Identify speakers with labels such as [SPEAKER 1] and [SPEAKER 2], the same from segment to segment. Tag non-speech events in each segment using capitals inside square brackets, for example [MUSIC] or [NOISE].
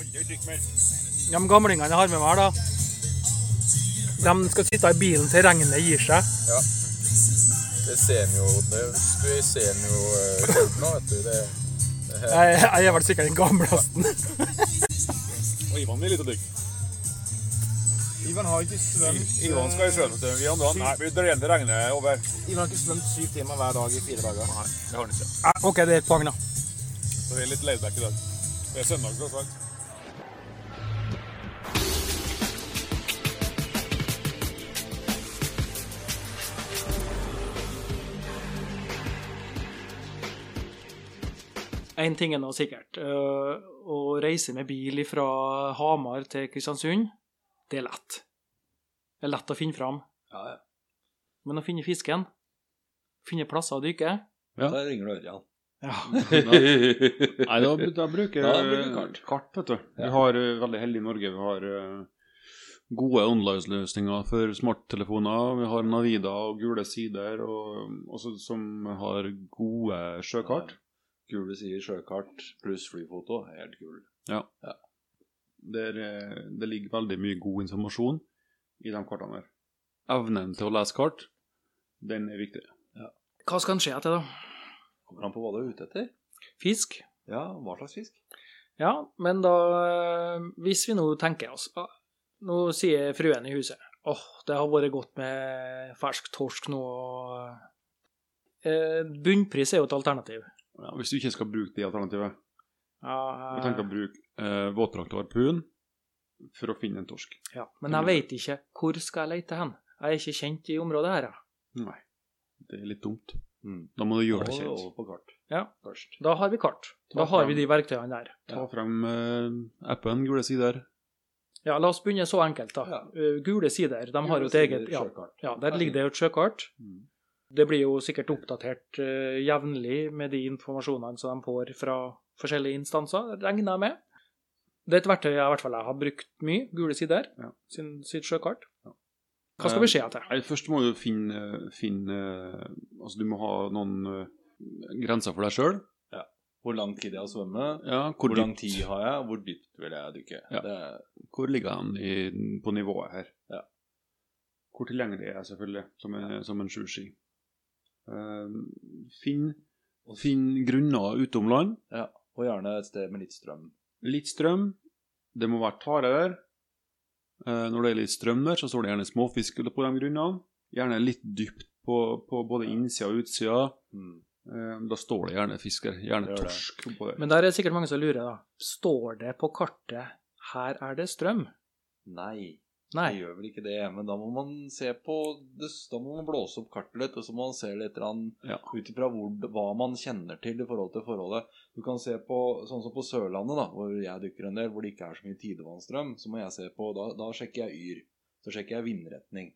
[SPEAKER 1] Aldri drikk mer.
[SPEAKER 2] De gamlingene jeg har med meg her, da. De skal sitte i bilen til regnet gir seg.
[SPEAKER 3] Ja. Det ser en jo Det skulle jeg se en jo eh, folk nå, vet du. Det, det her.
[SPEAKER 2] Jeg, jeg er vel sikkert den gamleste.
[SPEAKER 1] Og Ivan vil litt å drikke.
[SPEAKER 4] Ivan har ikke svømt
[SPEAKER 1] Ivan skal i sjøen. vet du. Vi andre, nei, vi drar igjen det regner over.
[SPEAKER 4] Ivan har ikke svømt syv timer hver dag i fire dager.
[SPEAKER 1] Nei, det har han ikke.
[SPEAKER 2] Ja, OK, det er et poeng, da.
[SPEAKER 1] Så vi er litt laidback i dag. Det er søndag, tross alt.
[SPEAKER 2] Én ting er nå sikkert. øh, Å reise med bil fra Hamar til Kristiansund, det er lett. Det er lett å finne fram.
[SPEAKER 5] Ja, ja.
[SPEAKER 2] Men å finne fisken, finne plasser å dykke
[SPEAKER 5] Da ringer du
[SPEAKER 6] [LAUGHS]
[SPEAKER 5] Ørjan.
[SPEAKER 2] ja.
[SPEAKER 6] Nei, da, da bruker
[SPEAKER 5] Da
[SPEAKER 6] jeg
[SPEAKER 5] bruker kart.
[SPEAKER 6] kart, vet du.
[SPEAKER 5] Ja.
[SPEAKER 6] Vi har eh, veldig heldig i Norge. Vi har eh, gode online-løsninger for smarttelefoner. Vi har Navida og Gule Sider, og, også, som har gode sjøkart.
[SPEAKER 5] Gule sider, sjøkart pluss flyfoto. Helt kul.
[SPEAKER 6] Der, eh, det ligger veldig mye god informasjon i de kartene her. Evnen til å lese kart, den er viktig.
[SPEAKER 2] Hva skal en se etter, da?
[SPEAKER 5] Kommer an på hva du er ute etter.
[SPEAKER 2] Fisk?
[SPEAKER 5] Ja, hva slags fisk?
[SPEAKER 2] Ja, men da øh, Hvis vi nå tenker oss ah, Nå sier fruen i huset åh, det har vært godt med fersk torsk nå. og, øh, Bunnpris er jo et alternativ.
[SPEAKER 6] Ja, hvis du ikke skal bruke det alternativet.
[SPEAKER 2] Ja,
[SPEAKER 6] Jeg tenker å bruke eh, våtdrakt og harpun for å finne en torsk.
[SPEAKER 2] eh, Ja, men jeg veit ikke hvor skal jeg lete hen. Jeg er ikke kjent i området her. jeg.
[SPEAKER 6] Nei, det er litt dumt.
[SPEAKER 5] Mm.
[SPEAKER 6] Da må du
[SPEAKER 5] Da
[SPEAKER 6] gjøre
[SPEAKER 5] må
[SPEAKER 6] det
[SPEAKER 5] du
[SPEAKER 6] kjent.
[SPEAKER 5] over på kart
[SPEAKER 2] Ja,
[SPEAKER 5] først.
[SPEAKER 2] da har vi kart. Da har vi de verktøyene der.
[SPEAKER 6] Ta frem eh, appen Gule sider.
[SPEAKER 2] Ja, La oss begynne så enkelt, da.
[SPEAKER 5] Ja.
[SPEAKER 2] Eh, Gule sider, de har jo et
[SPEAKER 5] Gule sider,
[SPEAKER 2] eget ja,
[SPEAKER 5] sjøkart.
[SPEAKER 2] ja, Der ligger det jo et sjøkart.
[SPEAKER 6] Mm.
[SPEAKER 2] Det blir jo sikkert oppdatert eh, jevnlig med de informasjonene som de får fra forskjellige instanser, regner jeg med. Det er et verktøy jeg i hvert fall jeg har brukt mye, Gule sider,
[SPEAKER 6] Ja. Eh,
[SPEAKER 2] sin, sitt sjøkart. Hva skal vi se etter?
[SPEAKER 6] Nei, først må du finne, finne eh, Altså, du må ha noen eh, grenser for deg sjøl.
[SPEAKER 5] Hvor lang tid jeg har svømme?
[SPEAKER 6] Ja,
[SPEAKER 5] Hvor,
[SPEAKER 6] hvor,
[SPEAKER 5] lang
[SPEAKER 6] dypt-
[SPEAKER 5] tid har jeg? Hvor dypt vil jeg dykke?
[SPEAKER 6] Ja.
[SPEAKER 5] Det,
[SPEAKER 6] Hvor ligger han i, på nivået her?
[SPEAKER 5] Ja.
[SPEAKER 6] Hvor tilgjengelig er jeg selvfølgelig, som en, som en sushi. Ehm, finn, finn grunner utom land.
[SPEAKER 5] og gjerne et sted med litt strøm.
[SPEAKER 6] Litt strøm. Det må være tare der. Eh, når det er litt strøm der, så står det gjerne småfisk på de grunnene. Gjerne litt dypt på, på både innsida og utsida.
[SPEAKER 5] Mm.
[SPEAKER 6] Ehm, da står det gjerne fisk der. Gjerne
[SPEAKER 5] Gjør det.
[SPEAKER 6] torsk på der.
[SPEAKER 2] Men der er det sikkert mange som lurer, da. Står det på kartet 'her er det strøm'?
[SPEAKER 5] Nei, det
[SPEAKER 2] Nei.
[SPEAKER 5] gjør vel ikke det. Men da må man se på det, Da må man blåse opp kartet litt, og så må man se litt grann
[SPEAKER 6] Ja.
[SPEAKER 5] ut ifra hvor- hva man kjenner til i forhold til forholdet. Du kan se på sånn som på Sørlandet, da, hvor jeg dykker en del, hvor det ikke er så mye tidevannsstrøm. Så må jeg se på Da, da sjekker jeg yr. Så sjekker jeg vindretning.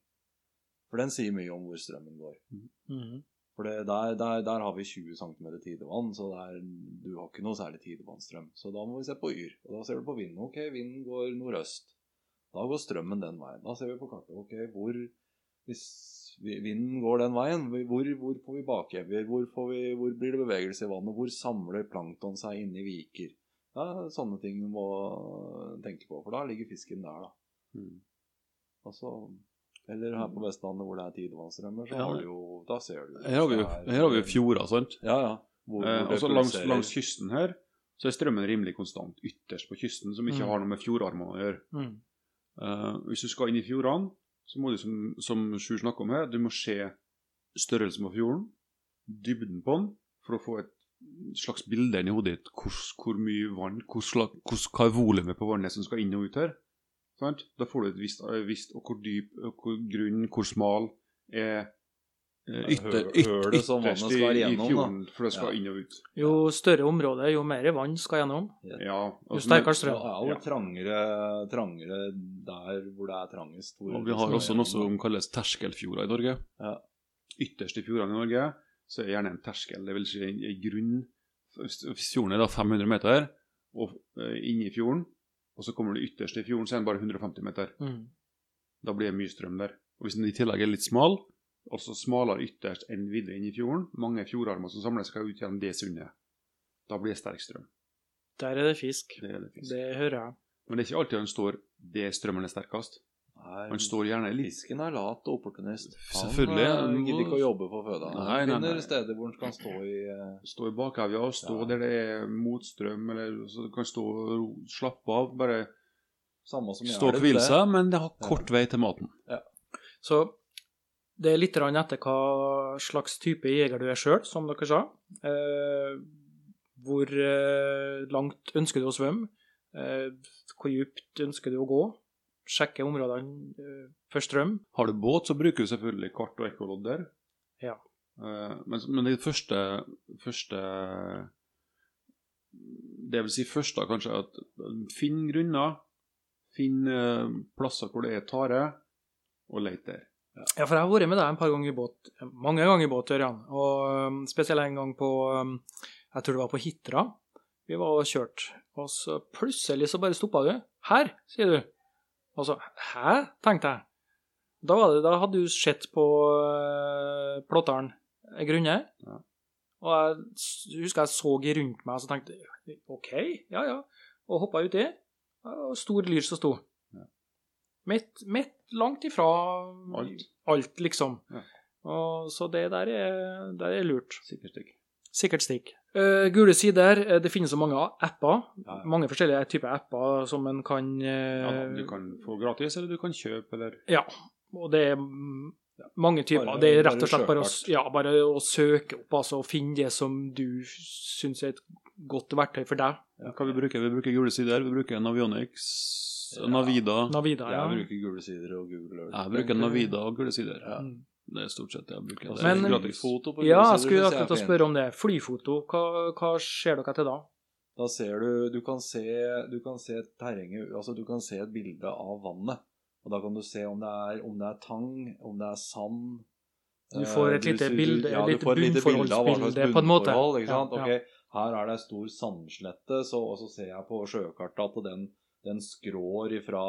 [SPEAKER 5] For den sier mye om hvor strømmen går.
[SPEAKER 2] Mhm.
[SPEAKER 5] For det, der, der, der har vi 20 cm tidevann, så der, du har ikke noe særlig tidevannsstrøm. Så da må vi se på yr. Og da ser du på vinden. Ok, vinden går nordøst. Da går strømmen den veien. Da ser vi på kartet. Ok, hvor Hvis vi- vinden går den veien, hvor, hvor får vi bakevjer? Hvor, får vi, hvor blir det bevegelse i vannet? Hvor samler plankton seg inne i viker? Ja, sånne ting du må tenke på, for da ligger fisken der, da.
[SPEAKER 6] Mm.
[SPEAKER 5] Altså, eller her på Vestlandet hvor det er tidevannsstrømmer, så
[SPEAKER 6] Ja,
[SPEAKER 5] har
[SPEAKER 6] men-
[SPEAKER 5] du jo Da ser du
[SPEAKER 6] Her har vi jo her har vi jo fjorder, sant.
[SPEAKER 5] Ja, ja. Hvor,
[SPEAKER 6] Eh,
[SPEAKER 5] hvor det
[SPEAKER 6] altså langs,
[SPEAKER 5] pulserer.
[SPEAKER 6] langs kysten her så er strømmen rimelig konstant ytterst på kysten, som ikke
[SPEAKER 2] Mm.
[SPEAKER 6] har noe med fjordarmene å gjøre.
[SPEAKER 2] Mhm.
[SPEAKER 6] Eh, hvis du skal inn i fjordene, så må du, som, som Sjur snakker om her, du må se størrelsen på fjorden, dybden på den, for å få et slags bilde inn i hodet ditt. Hvor, hvor mye vann, hvor slag, hvor, hva er volumet på vannet som skal inn og ut her? Sant? Da får du et visst, eh, visst og hvor dyp, og hvor grunn, hvor smal er eh, ytter,
[SPEAKER 5] hø-
[SPEAKER 6] ytter,
[SPEAKER 5] hølet som vannet
[SPEAKER 6] ytterst i,
[SPEAKER 5] skal
[SPEAKER 6] i
[SPEAKER 5] igjennom, da.
[SPEAKER 6] fjorden, for det skal
[SPEAKER 5] Ja.
[SPEAKER 6] inn og ut.
[SPEAKER 2] Jo større område, jo mer vann skal gjennom.
[SPEAKER 6] Ja, altså,
[SPEAKER 2] Jo
[SPEAKER 6] men-
[SPEAKER 2] sterkere
[SPEAKER 5] Det
[SPEAKER 2] strøm.
[SPEAKER 5] er jo
[SPEAKER 6] Ja.
[SPEAKER 5] trangere, trangere der hvor det er trangest. Hvor
[SPEAKER 6] Og vi har også noe som kalles terskelfjorder i Norge.
[SPEAKER 5] Ja.
[SPEAKER 6] Ytterst i fjordene i Norge så er det gjerne en terskel, det vil si en, en grunn. Hvis hvis fjorden er da 500 meter, og eh, inne i fjorden, og så kommer du ytterst i fjorden, så er den bare 150 meter.
[SPEAKER 2] Mhm.
[SPEAKER 6] Da blir det mye strøm der. Og hvis den i tillegg er litt smal, altså smalere ytterst enn videre inn i fjorden, mange fjordarmer som samler seg ut gjennom det sundet, da blir det sterk strøm.
[SPEAKER 2] Der er det fisk.
[SPEAKER 6] Det er det fisk.
[SPEAKER 2] Det hører jeg.
[SPEAKER 6] Men det er ikke alltid han står det strømmen er sterkest.
[SPEAKER 5] Nei,
[SPEAKER 6] Han står gjerne litt
[SPEAKER 5] Fisken er lat og opportunist. Han,
[SPEAKER 6] Selvfølgelig,
[SPEAKER 5] eh,
[SPEAKER 6] han må-
[SPEAKER 5] gidder ikke å jobbe for føda. Han
[SPEAKER 6] Nei, nei,
[SPEAKER 5] finner
[SPEAKER 6] nei.
[SPEAKER 5] steder hvor han kan stå i eh,
[SPEAKER 6] Stå i bakevja, stå
[SPEAKER 5] Ja.
[SPEAKER 6] der det er motstrøm, eller så du kan stå og ro- slappe av. Bare
[SPEAKER 5] Samme som
[SPEAKER 6] stå og
[SPEAKER 5] Gjerdet,
[SPEAKER 6] hvile
[SPEAKER 5] det.
[SPEAKER 6] seg, men det har kort vei til maten.
[SPEAKER 2] Så det er litt grann etter hva slags type jeger du er sjøl, som dere sa. Eh, hvor eh, langt ønsker du å svømme? Eh, hvor dypt ønsker du å gå? Sjekke områdene eh, for strøm.
[SPEAKER 6] Har du båt, så bruker du selvfølgelig kart og ekkolodder.
[SPEAKER 2] Ja.
[SPEAKER 6] Eh, men, men det første, første Det vil si første, kanskje, at eh, finn grunner. Finn eh, plasser hvor det er tare, og let der.
[SPEAKER 2] Ja, for jeg har vært med deg en par ganger i båt, mange ganger i båt, Ørjan. Og um, spesielt en gang på, um, jeg tror det var på Hitra, vi var og kjørt. Og så plutselig så bare stoppa du. Her, sier du. Og så, hæ, tenkte jeg. Da, var det, da hadde du sett på uh, plotteren eh, grunne.
[SPEAKER 6] Ja.
[SPEAKER 2] Og jeg s- husker jeg så i rundt meg og så tenkte jeg, OK, ja ja. Og hoppa uti. Og stor lyr som sto.
[SPEAKER 6] Ja.
[SPEAKER 2] Midt, midt langt ifra
[SPEAKER 6] Alt.
[SPEAKER 2] alt, liksom.
[SPEAKER 6] Ja.
[SPEAKER 2] Og, så det der er, der er lurt.
[SPEAKER 6] Sikkert ikke.
[SPEAKER 2] Sikkert stikk. Eh, gule sider, eh, det finnes så mange apper.
[SPEAKER 6] Ja, ja.
[SPEAKER 2] Mange forskjellige typer apper som en kan, eh,
[SPEAKER 6] Ja, da, du kan få gratis, eller du kan kjøpe, eller
[SPEAKER 2] ja, og det er mm, mange typer.
[SPEAKER 5] Bare-
[SPEAKER 2] det er
[SPEAKER 5] bare
[SPEAKER 2] rett og slett bare å, s-
[SPEAKER 5] sjøkart.
[SPEAKER 2] ja, bare å søke opp, altså, og finne det som du syns er et godt verktøy for deg.
[SPEAKER 6] Hva vi bruker? Vi bruker gule sider, vi bruker Navionics,
[SPEAKER 5] Ja.
[SPEAKER 6] Navida.
[SPEAKER 2] Navida, ja.
[SPEAKER 5] Jeg bruker gule sider og Google Earth.
[SPEAKER 6] Jeg bruker Navida og gule sider.
[SPEAKER 5] Ja.
[SPEAKER 2] Mm.
[SPEAKER 6] Det er stort sett det jeg bruker.
[SPEAKER 5] Og
[SPEAKER 6] Det
[SPEAKER 5] så
[SPEAKER 6] er
[SPEAKER 2] Men-
[SPEAKER 6] gratis.
[SPEAKER 5] flyfoto på gule
[SPEAKER 2] Ja,
[SPEAKER 5] sider,
[SPEAKER 2] jeg skulle
[SPEAKER 5] det ser
[SPEAKER 2] akkurat å
[SPEAKER 5] fint.
[SPEAKER 2] spørre om det. Flyfoto, hva, hva ser dere til da?
[SPEAKER 5] Da ser du Du kan se, du kan se terrenget Altså, du kan se et bilde av vannet. Og da kan du se om det er, om det er tang, om det er sand.
[SPEAKER 2] Du får et
[SPEAKER 5] Eh,
[SPEAKER 2] lite
[SPEAKER 5] du-
[SPEAKER 2] bilde-
[SPEAKER 5] ja, du
[SPEAKER 2] lite
[SPEAKER 5] får et lite bilde av hva slags
[SPEAKER 2] bunnforholdsbilde, på en måte.
[SPEAKER 5] bunnforhold, Ikke sant?
[SPEAKER 2] Ja, ja.
[SPEAKER 5] Ok, her er det en stor sandslette, så, og så ser jeg på sjøkartet at den, den skrår ifra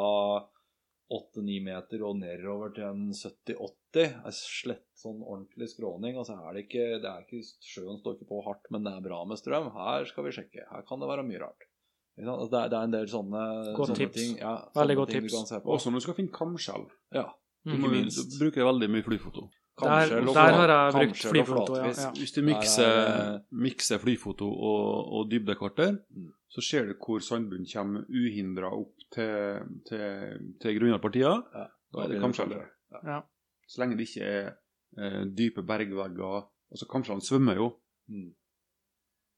[SPEAKER 5] 8-9 meter og nedover til en 70-80. Er slett sånn ordentlig skråning. Altså er det ikke, det er ikke Sjøen står ikke på hardt, men det er bra med strøm. Her skal vi sjekke. Her kan det være mye rart. Ikke sant? Altså, Det er, det er en del sånne,
[SPEAKER 2] Godt
[SPEAKER 5] sånne
[SPEAKER 2] tips.
[SPEAKER 5] ting. Ja,
[SPEAKER 2] Veldig
[SPEAKER 5] sånne
[SPEAKER 2] godt
[SPEAKER 5] ting du
[SPEAKER 2] tips.
[SPEAKER 5] kan se på.
[SPEAKER 6] Også når du skal finne kamskjell.
[SPEAKER 5] Ja.
[SPEAKER 2] Mm.
[SPEAKER 6] Ikke
[SPEAKER 5] minst.
[SPEAKER 6] minst. Du bruker veldig mye flyfoto.
[SPEAKER 2] Der-
[SPEAKER 5] Kamskjell og
[SPEAKER 2] der
[SPEAKER 5] flat-
[SPEAKER 2] har jeg brukt
[SPEAKER 5] kamskjell og
[SPEAKER 2] flyfoto, ja,
[SPEAKER 5] flatfisk.
[SPEAKER 2] ja.
[SPEAKER 6] Hvis du
[SPEAKER 5] Nei,
[SPEAKER 6] mikser,
[SPEAKER 5] nei,
[SPEAKER 6] mikser flyfoto og, og dybdekarter,
[SPEAKER 5] Mm.
[SPEAKER 6] så ser du hvor sandbunnen kommer uhindra opp til, til, til grunnarpartier.
[SPEAKER 5] Ja.
[SPEAKER 6] Da er det kamskjell.
[SPEAKER 2] Ja.
[SPEAKER 6] Så lenge det ikke er eh, dype bergvegger Altså, kamskjellene svømmer jo,
[SPEAKER 5] Mm.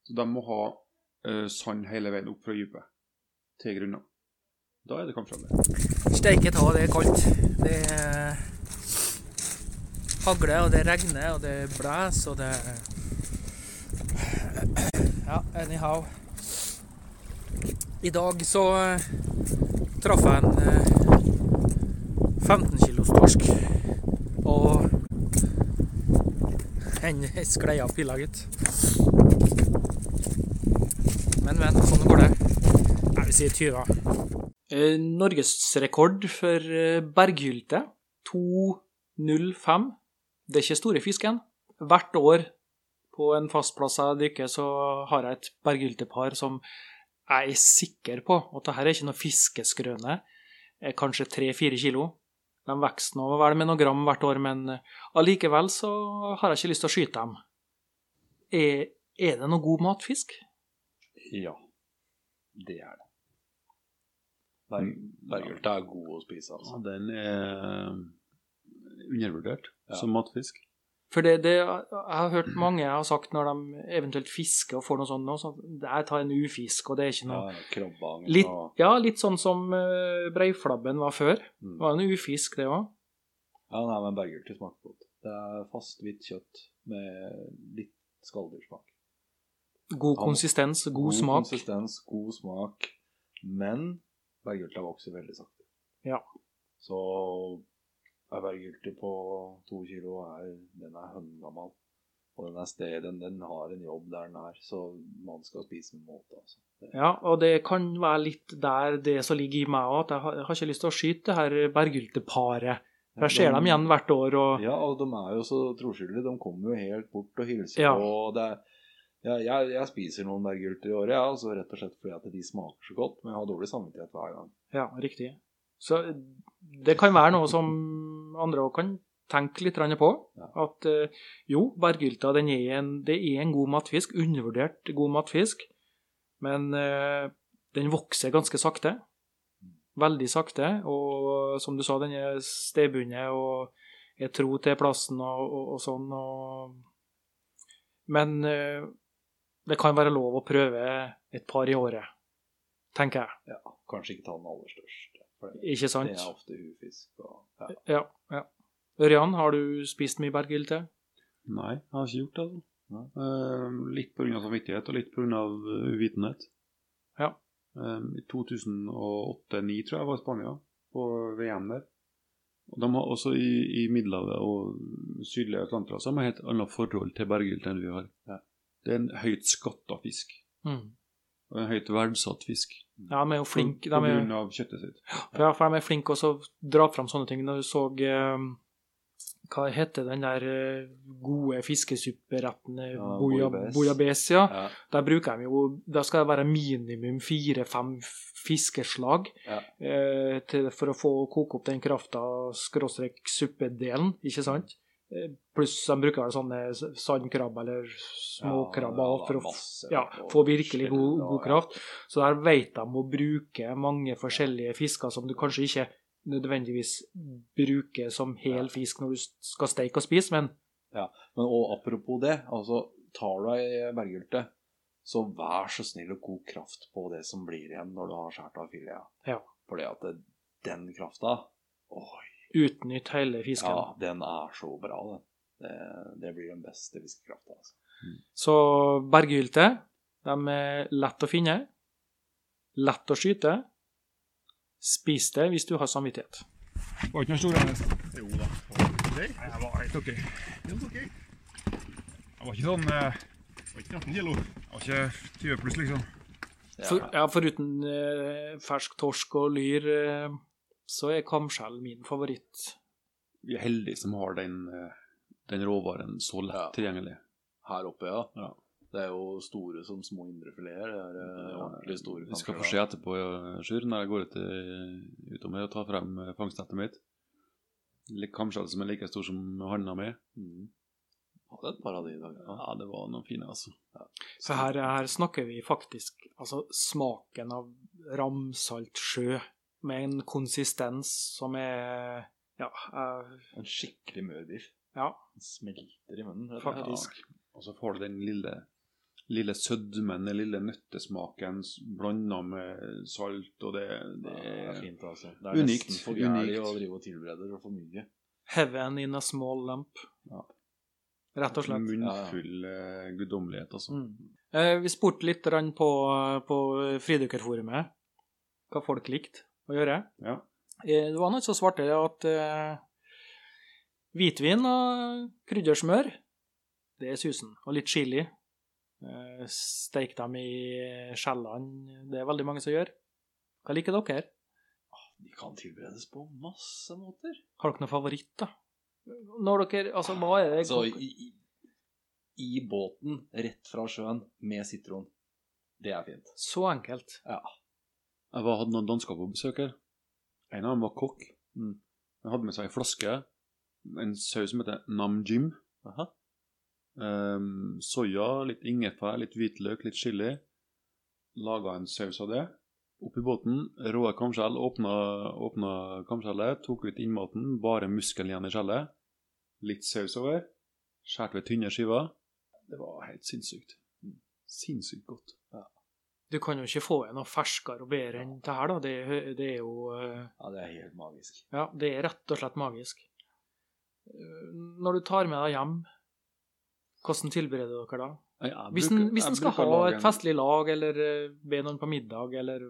[SPEAKER 6] så de må ha eh, sand hele veien opp fra dypet til grunna. Da er det kamskjeller.
[SPEAKER 2] Steike ta, det er kaldt. Det er hagler, og det regner, og det blåser, og det Ja, anyhow. I dag så eh, traff jeg en eh, 15 kilos torsk. Og den [LAUGHS] sklei av pilla, gitt. Men, men, sånn går det. Jeg vil si 20. Eh, Norgesrekord for eh, berghylte. 2,05. Det er ikke store fisken. Hvert år på en fast plass jeg dykker, så har jeg et berghyltepar som jeg er sikker på at det her er ikke noe fiskeskrøne. Eh, Kanskje 3-4 kilo. De vokser nå vel med noen gram hvert år, men eh, allikevel så har jeg ikke lyst til å skyte dem. Er, er det noe god matfisk?
[SPEAKER 5] Ja, det er det. Berg, Berghylte er god å spise, altså.
[SPEAKER 6] den er undervurdert
[SPEAKER 5] Ja.
[SPEAKER 6] som matfisk.
[SPEAKER 2] For det, det, jeg har hørt mange har sagt når de eventuelt fisker og får noe sånt nå, så jeg tar en ufisk, og det er ikke
[SPEAKER 5] Ja,
[SPEAKER 2] noe
[SPEAKER 5] Krabbang
[SPEAKER 2] Litt,
[SPEAKER 5] og
[SPEAKER 2] ja, litt sånn som eh, breiflabben var før.
[SPEAKER 5] Mm.
[SPEAKER 2] Det var en ufisk, det òg.
[SPEAKER 5] Ja, nei, men berghylte smaker godt. Det er fast, hvitt kjøtt med litt skalldyrsmak.
[SPEAKER 2] God
[SPEAKER 5] Ja.
[SPEAKER 2] konsistens, god, smak.
[SPEAKER 5] konsistens, god smak. Men berghylta vokser veldig sakte.
[SPEAKER 2] Ja.
[SPEAKER 5] Så ei berghylte på to kilo er Den er høngammal. Og den, er sted, den, den har en jobb der den er, så man skal spise med måte, altså. Det-
[SPEAKER 2] Ja, og det kan være litt der det som ligger i meg òg, at jeg har, jeg har ikke lyst til å skyte det her berghylteparet. For jeg ser
[SPEAKER 5] Den-
[SPEAKER 2] dem igjen hvert år, og
[SPEAKER 5] Ja, og de er jo så troskyldige. De kommer jo helt bort og hilser
[SPEAKER 2] Ja.
[SPEAKER 5] på. og Det er, Jeg, jeg, jeg spiser noen bergurter i året, ja, altså rett og slett fordi at de smaker så godt. Men jeg har dårlig samvittighet hver gang.
[SPEAKER 2] Ja, riktig. Så det kan være noe som andre òg kan tenke litt grann på.
[SPEAKER 5] Ja.
[SPEAKER 2] At eh, jo, bergylta den er en, det er en god matfisk, undervurdert god matfisk. Men eh, den vokser ganske sakte. Veldig sakte. Og som du sa, den er stedbundet og er tro til plassen og, og, og sånn. Og... Men eh, det kan være lov å prøve et par i året, tenker jeg.
[SPEAKER 5] Ja, kanskje ikke ta den aller største. For det,
[SPEAKER 2] Ikke sant?
[SPEAKER 5] det er ofte hufisk. Og, ja.
[SPEAKER 2] Ja. ja. Ørjan, har du spist mye berggylte?
[SPEAKER 6] Nei, jeg har ikke gjort det. altså. Eh, litt pga. samvittighet og litt pga. eh, uvitenhet.
[SPEAKER 2] Ja.
[SPEAKER 6] Eh, I 2008-2009 tror jeg jeg var i Spania, på VM der. Og de har også i, i Middelhavet og sydlige Atlanterhavet så har man et helt annet forhold til berggylte enn vi har. Det er en høyt skatta fisk.
[SPEAKER 5] Mm.
[SPEAKER 6] Og en høyt verdsatt fisk.
[SPEAKER 2] Ja, de er jo flinke.
[SPEAKER 6] På
[SPEAKER 2] De er,
[SPEAKER 6] grunn av kjøttet sitt.
[SPEAKER 2] ja, for de er flinke også å dra fram sånne ting. Når du så eh, Hva heter den der eh, gode fiskesupperetten? eh,
[SPEAKER 5] Ja,
[SPEAKER 2] boya-
[SPEAKER 5] bouillabaisse.
[SPEAKER 2] Bouillabaisse, ja.
[SPEAKER 5] Ja.
[SPEAKER 2] Der bruker de jo Der skal det være minimum fire-fem fiskeslag
[SPEAKER 5] Ja.
[SPEAKER 2] eh, til, for å få koke opp den krafta, skråstrek suppedelen, ikke sant? Eh, Pluss de bruker vel sånne s- sandkrabber eller småkrabber
[SPEAKER 5] Ja,
[SPEAKER 2] for å f-
[SPEAKER 5] masse
[SPEAKER 2] ja,
[SPEAKER 5] og
[SPEAKER 2] få virkelig god,
[SPEAKER 5] skjell og-
[SPEAKER 2] god kraft. Så der vet de å bruke mange forskjellige fisker som du kanskje ikke nødvendigvis bruker som hel fisk når du s- skal steike og spise, men
[SPEAKER 5] Men og apropos det, altså tar du ei berggylte, så vær så snill og kok kraft på det som blir igjen når du har skåret av fileten.
[SPEAKER 2] Ja.
[SPEAKER 5] Fordi at det, den krafta Oi,
[SPEAKER 2] utnytt hele fisken.
[SPEAKER 5] ja, den er så bra, den. Det, det blir den beste fiskekrafta. Altså.
[SPEAKER 2] Så berggylte, de er lett å finne, lett å skyte. Spis det hvis du har samvittighet.
[SPEAKER 1] Var ikke noe stor enest? Jo da. Nei, jeg var helt ok. Helt ok. Jeg var ikke sånn eh, Jeg var ikke 18 kilo. Jeg var ikke 20 pluss, liksom.
[SPEAKER 2] For, ja, foruten eh, fersk torsk og lyr, eh, så er kamskjell min favoritt.
[SPEAKER 6] Vi er heldige som har den, eh, den råvaren så lett
[SPEAKER 5] Ja.
[SPEAKER 6] tilgjengelig.
[SPEAKER 5] Her oppe, ja.
[SPEAKER 6] Ja.
[SPEAKER 5] Det er jo store som små indrefileter. Det er eh, ordentlig store.
[SPEAKER 6] Vi skal
[SPEAKER 5] kanskje,
[SPEAKER 6] få se etterpå, ja, Sjur, når jeg går ut eh, utom her og tar frem eh, fangstnettet mitt. Litt Kamskjell som er like stor som handa mi.
[SPEAKER 5] da. Mm. Hadde et par av de i dag. Ja.
[SPEAKER 6] Ja, det var noen fine, altså.
[SPEAKER 2] Så her, her snakker vi faktisk altså smaken av ramsalt sjø med en konsistens som er ja, eh,
[SPEAKER 5] En skikkelig mør biff.
[SPEAKER 2] ja,
[SPEAKER 5] Den Smelter i munnen. rett og slett.
[SPEAKER 2] faktisk.
[SPEAKER 6] Og så får du den lille, lille sødmen, den lille nøttesmaken blanda med salt, og det,
[SPEAKER 5] Det er
[SPEAKER 6] det
[SPEAKER 5] fint, altså. Det er
[SPEAKER 6] Unikt,
[SPEAKER 5] nesten for gærlig
[SPEAKER 6] unikt.
[SPEAKER 5] å drive og tilberede det for mye.
[SPEAKER 2] Heaven in a small lamp.
[SPEAKER 6] Ja.
[SPEAKER 2] Rett og
[SPEAKER 6] er
[SPEAKER 2] slett.
[SPEAKER 6] munnfull eh, guddommelighet, altså.
[SPEAKER 2] Mm. Eh, vi spurte litt grann på, på Fridykkerforumet hva folk likte å gjøre.
[SPEAKER 6] Ja.
[SPEAKER 2] Eh, det var noen som svarte at eh, hvitvin og kryddersmør, det er susen. Og litt chili. Eh, Steik dem i skjellene. Det er veldig mange som gjør. Hva liker dere?
[SPEAKER 5] De kan tilberedes på masse måter.
[SPEAKER 2] Har dere noen favoritt, da? Når dere Altså, hva er det
[SPEAKER 5] Altså, i, i, i båten, rett fra sjøen, med sitron. Det er fint.
[SPEAKER 2] Så enkelt.
[SPEAKER 6] Jeg var, hadde noen dansker på besøk her. En av dem var kokk.
[SPEAKER 5] Mm.
[SPEAKER 6] Han hadde med seg en flaske, en saus som heter Namjim.
[SPEAKER 5] Aha.
[SPEAKER 6] Ehm, soya, litt ingefær, litt hvitløk, litt chili. Laga en saus av det. Oppi båten, råe kamskjell, åpna, åpna kamskjellet, tok ut innmaten, bare muskelen igjen i skjellet. Litt saus over. Skåret ved tynne skiver. Det var helt sinnssykt.
[SPEAKER 2] Mm.
[SPEAKER 6] Sinnssykt godt.
[SPEAKER 2] Du kan jo ikke få en noe ferskere og bedre enn det her, da. Det, er- det er jo eh,
[SPEAKER 5] Ja, det er helt magisk.
[SPEAKER 2] Ja, det er rett og slett magisk. Eh, Når du tar med deg hjem, hvordan tilbereder dere da?
[SPEAKER 6] Jeg- jeg
[SPEAKER 2] Hvis en,
[SPEAKER 6] bruker-
[SPEAKER 2] hvis
[SPEAKER 6] jeg
[SPEAKER 2] en skal
[SPEAKER 6] bruker
[SPEAKER 2] ha
[SPEAKER 6] å lage
[SPEAKER 2] et
[SPEAKER 6] en-
[SPEAKER 2] festlig lag, eller eh, be noen på middag, eller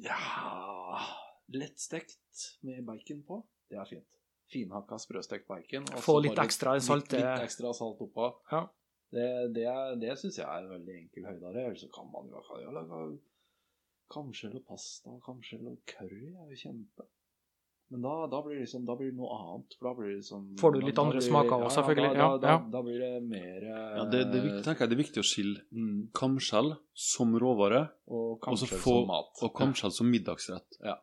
[SPEAKER 5] Ja Lettstekt med bacon på. Det er fint. Finhakka sprøstekt bacon. og
[SPEAKER 2] Få
[SPEAKER 5] så
[SPEAKER 2] litt
[SPEAKER 5] Altså bare
[SPEAKER 2] ekstra eh.
[SPEAKER 5] litt-
[SPEAKER 2] salte-
[SPEAKER 5] Litt, ekstra salt oppå.
[SPEAKER 2] Ja.
[SPEAKER 5] Det, det, er- det syns jeg er en veldig enkel høydare. Eller så kan man jo kan jo lage kamskjell og pasta, kamskjell og curry. Det er jo kjempe. Men da, da, blir det liksom, da blir det noe annet. For da blir det liksom,
[SPEAKER 2] Får du litt
[SPEAKER 5] da- da
[SPEAKER 2] andre
[SPEAKER 5] blir det-
[SPEAKER 2] smaker også, selvfølgelig.
[SPEAKER 5] Da,
[SPEAKER 2] Ja,
[SPEAKER 5] da,
[SPEAKER 2] ja.
[SPEAKER 5] Da, da blir det mer
[SPEAKER 6] Ja, det, det, er viktig, tenker jeg, det er viktig å skille
[SPEAKER 5] Eh, Mm,
[SPEAKER 6] kamskjell som råvare
[SPEAKER 5] og
[SPEAKER 6] Og så
[SPEAKER 5] kanskje som
[SPEAKER 6] få-
[SPEAKER 5] mat.
[SPEAKER 6] og kamskjell som middagsrett.
[SPEAKER 5] Ja.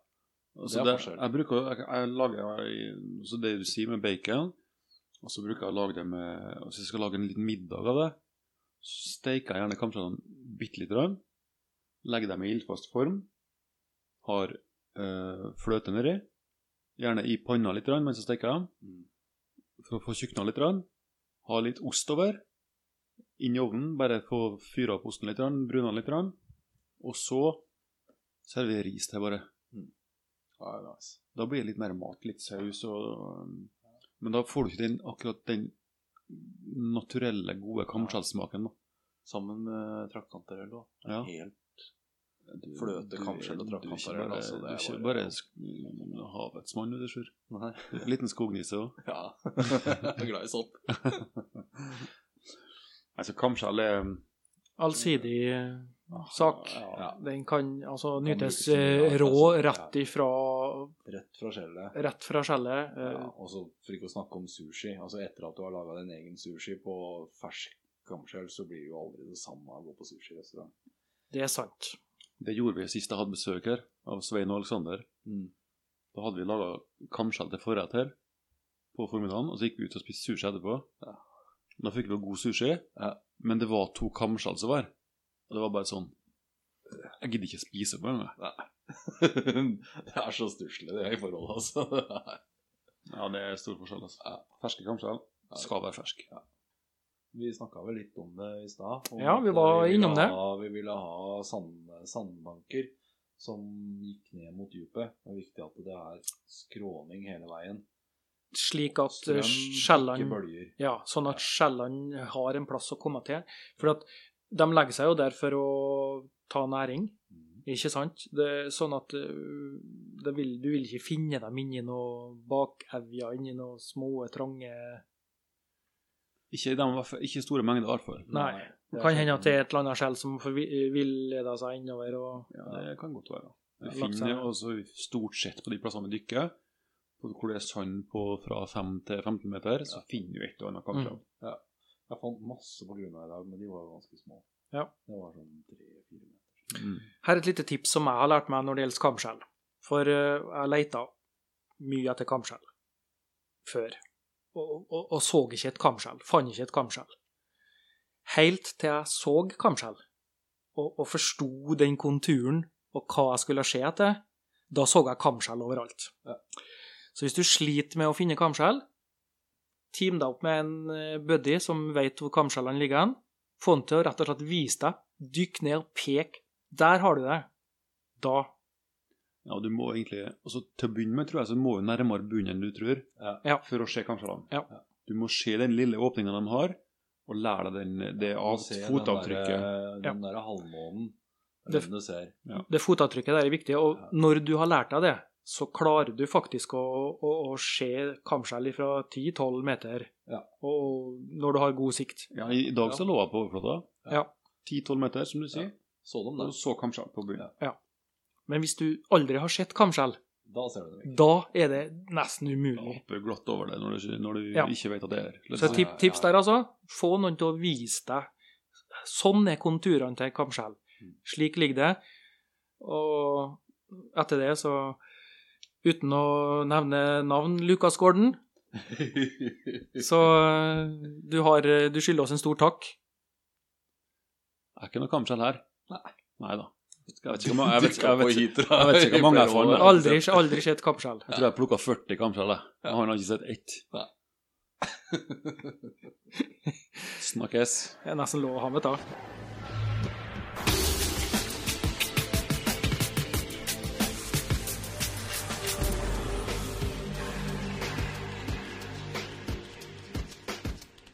[SPEAKER 6] Altså,
[SPEAKER 5] Det er
[SPEAKER 6] det,
[SPEAKER 5] forskjell.
[SPEAKER 6] jeg bruker jo- jeg, jeg lager jeg- så det du sier med bacon, og så bruker jeg å lage det med Hvis jeg skal lage en liten middag av det, så steiker jeg gjerne kamskjellene bitte lite grann. Legger dem i ildfast form. Har eh, fløte nedi. Gjerne i panna litt grann mens jeg steker dem.
[SPEAKER 5] Mm.
[SPEAKER 6] For å få tjukna litt. Grann. Ha litt ost over. Inn i ovnen. Bare få fyra opp osten litt, grann, bruna den litt. Grann. Og så serverer ris til, bare.
[SPEAKER 5] Ja, nice.
[SPEAKER 6] Da blir det litt mer mat, litt saus og Men da får du ikke den, akkurat den naturelle, gode kamskjellsmaken, da.
[SPEAKER 5] Sammen med trakkantarell òg.
[SPEAKER 6] Ja.
[SPEAKER 5] Helt
[SPEAKER 6] Du-
[SPEAKER 5] Fløte,
[SPEAKER 6] du er-
[SPEAKER 5] kamskjell og
[SPEAKER 6] du er ikke
[SPEAKER 5] trakkantarell,
[SPEAKER 6] bare-
[SPEAKER 5] altså, det
[SPEAKER 6] Du
[SPEAKER 5] er
[SPEAKER 6] er ikke
[SPEAKER 5] bare-
[SPEAKER 6] bare sk- havets mann, du, Sjur.
[SPEAKER 5] Nei.
[SPEAKER 6] [LAUGHS] Liten skognisse òg.
[SPEAKER 5] [LAUGHS] Ja. Jeg er glad i sopp.
[SPEAKER 6] Altså, kamskjell er
[SPEAKER 2] Allsidig eh, sak.
[SPEAKER 5] Ja.
[SPEAKER 2] Den kan altså
[SPEAKER 5] Kan
[SPEAKER 2] nytes
[SPEAKER 5] brukes til mye,
[SPEAKER 2] eh,
[SPEAKER 5] ja,
[SPEAKER 2] rå
[SPEAKER 5] altså,
[SPEAKER 2] rett ifra
[SPEAKER 5] Rett fra skjellet.
[SPEAKER 2] Rett fra skjellet. eh,
[SPEAKER 5] Ja, og så for ikke å snakke om sushi. Altså Etter at du har laga din egen sushi på fersk kamskjell, så blir det jo aldri det samme å gå på sushirestaurant.
[SPEAKER 2] Det er sant.
[SPEAKER 6] Det gjorde vi sist jeg hadde besøk her, av Svein og Aleksander.
[SPEAKER 5] Mm.
[SPEAKER 6] Da hadde vi laga kamskjell til forrett her på formiddagen, og så gikk vi ut og spiste sushi etterpå. Da fikk vi god sushi,
[SPEAKER 5] Ja.
[SPEAKER 6] men det var to kamskjell som var. Og det var bare sånn Jeg gidder ikke spise på engang.
[SPEAKER 5] [LAUGHS] det er så stusslig, det i forholdet, altså.
[SPEAKER 6] [LAUGHS] Ja, det er stor forskjell, altså.
[SPEAKER 5] Ja.
[SPEAKER 6] Ferske kamskjell
[SPEAKER 5] Ja.
[SPEAKER 6] skal være fersk.
[SPEAKER 5] Vi snakka vel litt om det i stad. om
[SPEAKER 2] Ja,
[SPEAKER 5] at
[SPEAKER 2] vi var
[SPEAKER 5] ville
[SPEAKER 2] innom det.
[SPEAKER 5] Ha, vi ville ha sand, sandbanker som gikk ned mot dypet. Det er viktig at det er skråning hele veien.
[SPEAKER 2] Slik at eh,
[SPEAKER 5] Strøm, ikke
[SPEAKER 2] skjellene
[SPEAKER 5] bølger.
[SPEAKER 2] Ja, sånn at skjellene har en plass å komme til. For at de legger seg jo der for å ta næring, ikke sant? Det er sånn at øh, det vil, du vil ikke finne dem inni noe bakevja, inni noe små, trange
[SPEAKER 6] Ikke, i dem, ikke i store mengder, i hvert fall.
[SPEAKER 2] Nei. Det kan hende at det er sånn- et eller annet skjell som forvi- villeder seg innover og
[SPEAKER 6] Ja, det kan godt være. Vi
[SPEAKER 2] Ja, laks
[SPEAKER 6] finner det
[SPEAKER 2] er-
[SPEAKER 6] også stort sett på de plassene vi dykker, på hvor det er sand på fra 5 til 15 meter, så finner vi et eller annet
[SPEAKER 2] Mm.
[SPEAKER 6] kamskjell.
[SPEAKER 5] Jeg fant masse på grunna i dag, men de var jo ganske små.
[SPEAKER 2] Ja.
[SPEAKER 5] Det var sånn tre-fire meter.
[SPEAKER 6] Mm.
[SPEAKER 2] Her er et lite tips som jeg har lært meg når det gjelder kamskjell. For eh, jeg leita mye etter kamskjell før, og, og, og så ikke et kamskjell. Fant ikke et kamskjell. Helt til jeg så kamskjell, og, og forsto den konturen og hva jeg skulle se etter, da så jeg kamskjell overalt. Så hvis du sliter med å finne kamskjell, team deg opp med en eh, buddy som vet hvor kamskjellene ligger hen. Få han til å rett og slett vise deg. Dykk ned og pek der har du det. Da.
[SPEAKER 6] Ja, du må egentlig, altså Til å begynne med tror jeg så må du nærmere bunnen enn du tror,
[SPEAKER 2] Ja.
[SPEAKER 6] for å se kamskjellene.
[SPEAKER 2] Ja.
[SPEAKER 6] Du må se den lille åpningen de har, og lære deg den, det
[SPEAKER 5] Du
[SPEAKER 6] av
[SPEAKER 5] ser den
[SPEAKER 6] fotavtrykket.
[SPEAKER 2] eh,
[SPEAKER 5] der- eh, Den der halvmånen. Det
[SPEAKER 2] Det-
[SPEAKER 5] er den du ser.
[SPEAKER 2] Det fotavtrykket der er viktig, og når du har lært deg det, så klarer du faktisk å, å, å se kamskjell fra 10-12 meter,
[SPEAKER 5] Ja.
[SPEAKER 2] og når du har god sikt.
[SPEAKER 6] Ja, I i dag så lå jeg på overflata.
[SPEAKER 2] Ja.
[SPEAKER 6] 10-12 meter, som du sier.
[SPEAKER 5] Så dem der.
[SPEAKER 6] Og så kamskjell på bunnen.
[SPEAKER 2] Men hvis du aldri har sett kamskjell,
[SPEAKER 5] Da ser du det.
[SPEAKER 2] da er det nesten
[SPEAKER 6] Da
[SPEAKER 2] umulig.
[SPEAKER 6] hopper du glatt over det når du, ikke- når du
[SPEAKER 2] Ja.
[SPEAKER 6] ikke vet at det er der.
[SPEAKER 2] Så tip, tips der, altså. Få noen til å vise deg. Sånn er konturene til kamskjell. Slik ligger det. Og etter det, så Uten å nevne navn, Lukas Gordon, så eh, du, har, eh, du skylder oss en stor takk.
[SPEAKER 6] Er ikke noe kamskjell her? Nei da. Jeg vet ikke hvor mange jeg, vet, jeg,
[SPEAKER 5] Dukka på
[SPEAKER 6] vet,
[SPEAKER 5] hitra.
[SPEAKER 6] jeg vet ikke hvor mange jeg fant. da.
[SPEAKER 2] Aldri, aldri sett kappskjell.
[SPEAKER 6] Jeg tror jeg plukka 40 kamskjell, jeg. Men han har ikke sett ett.
[SPEAKER 5] Nei.
[SPEAKER 6] Snakkes.
[SPEAKER 2] Det er nesten lov å ha med, da.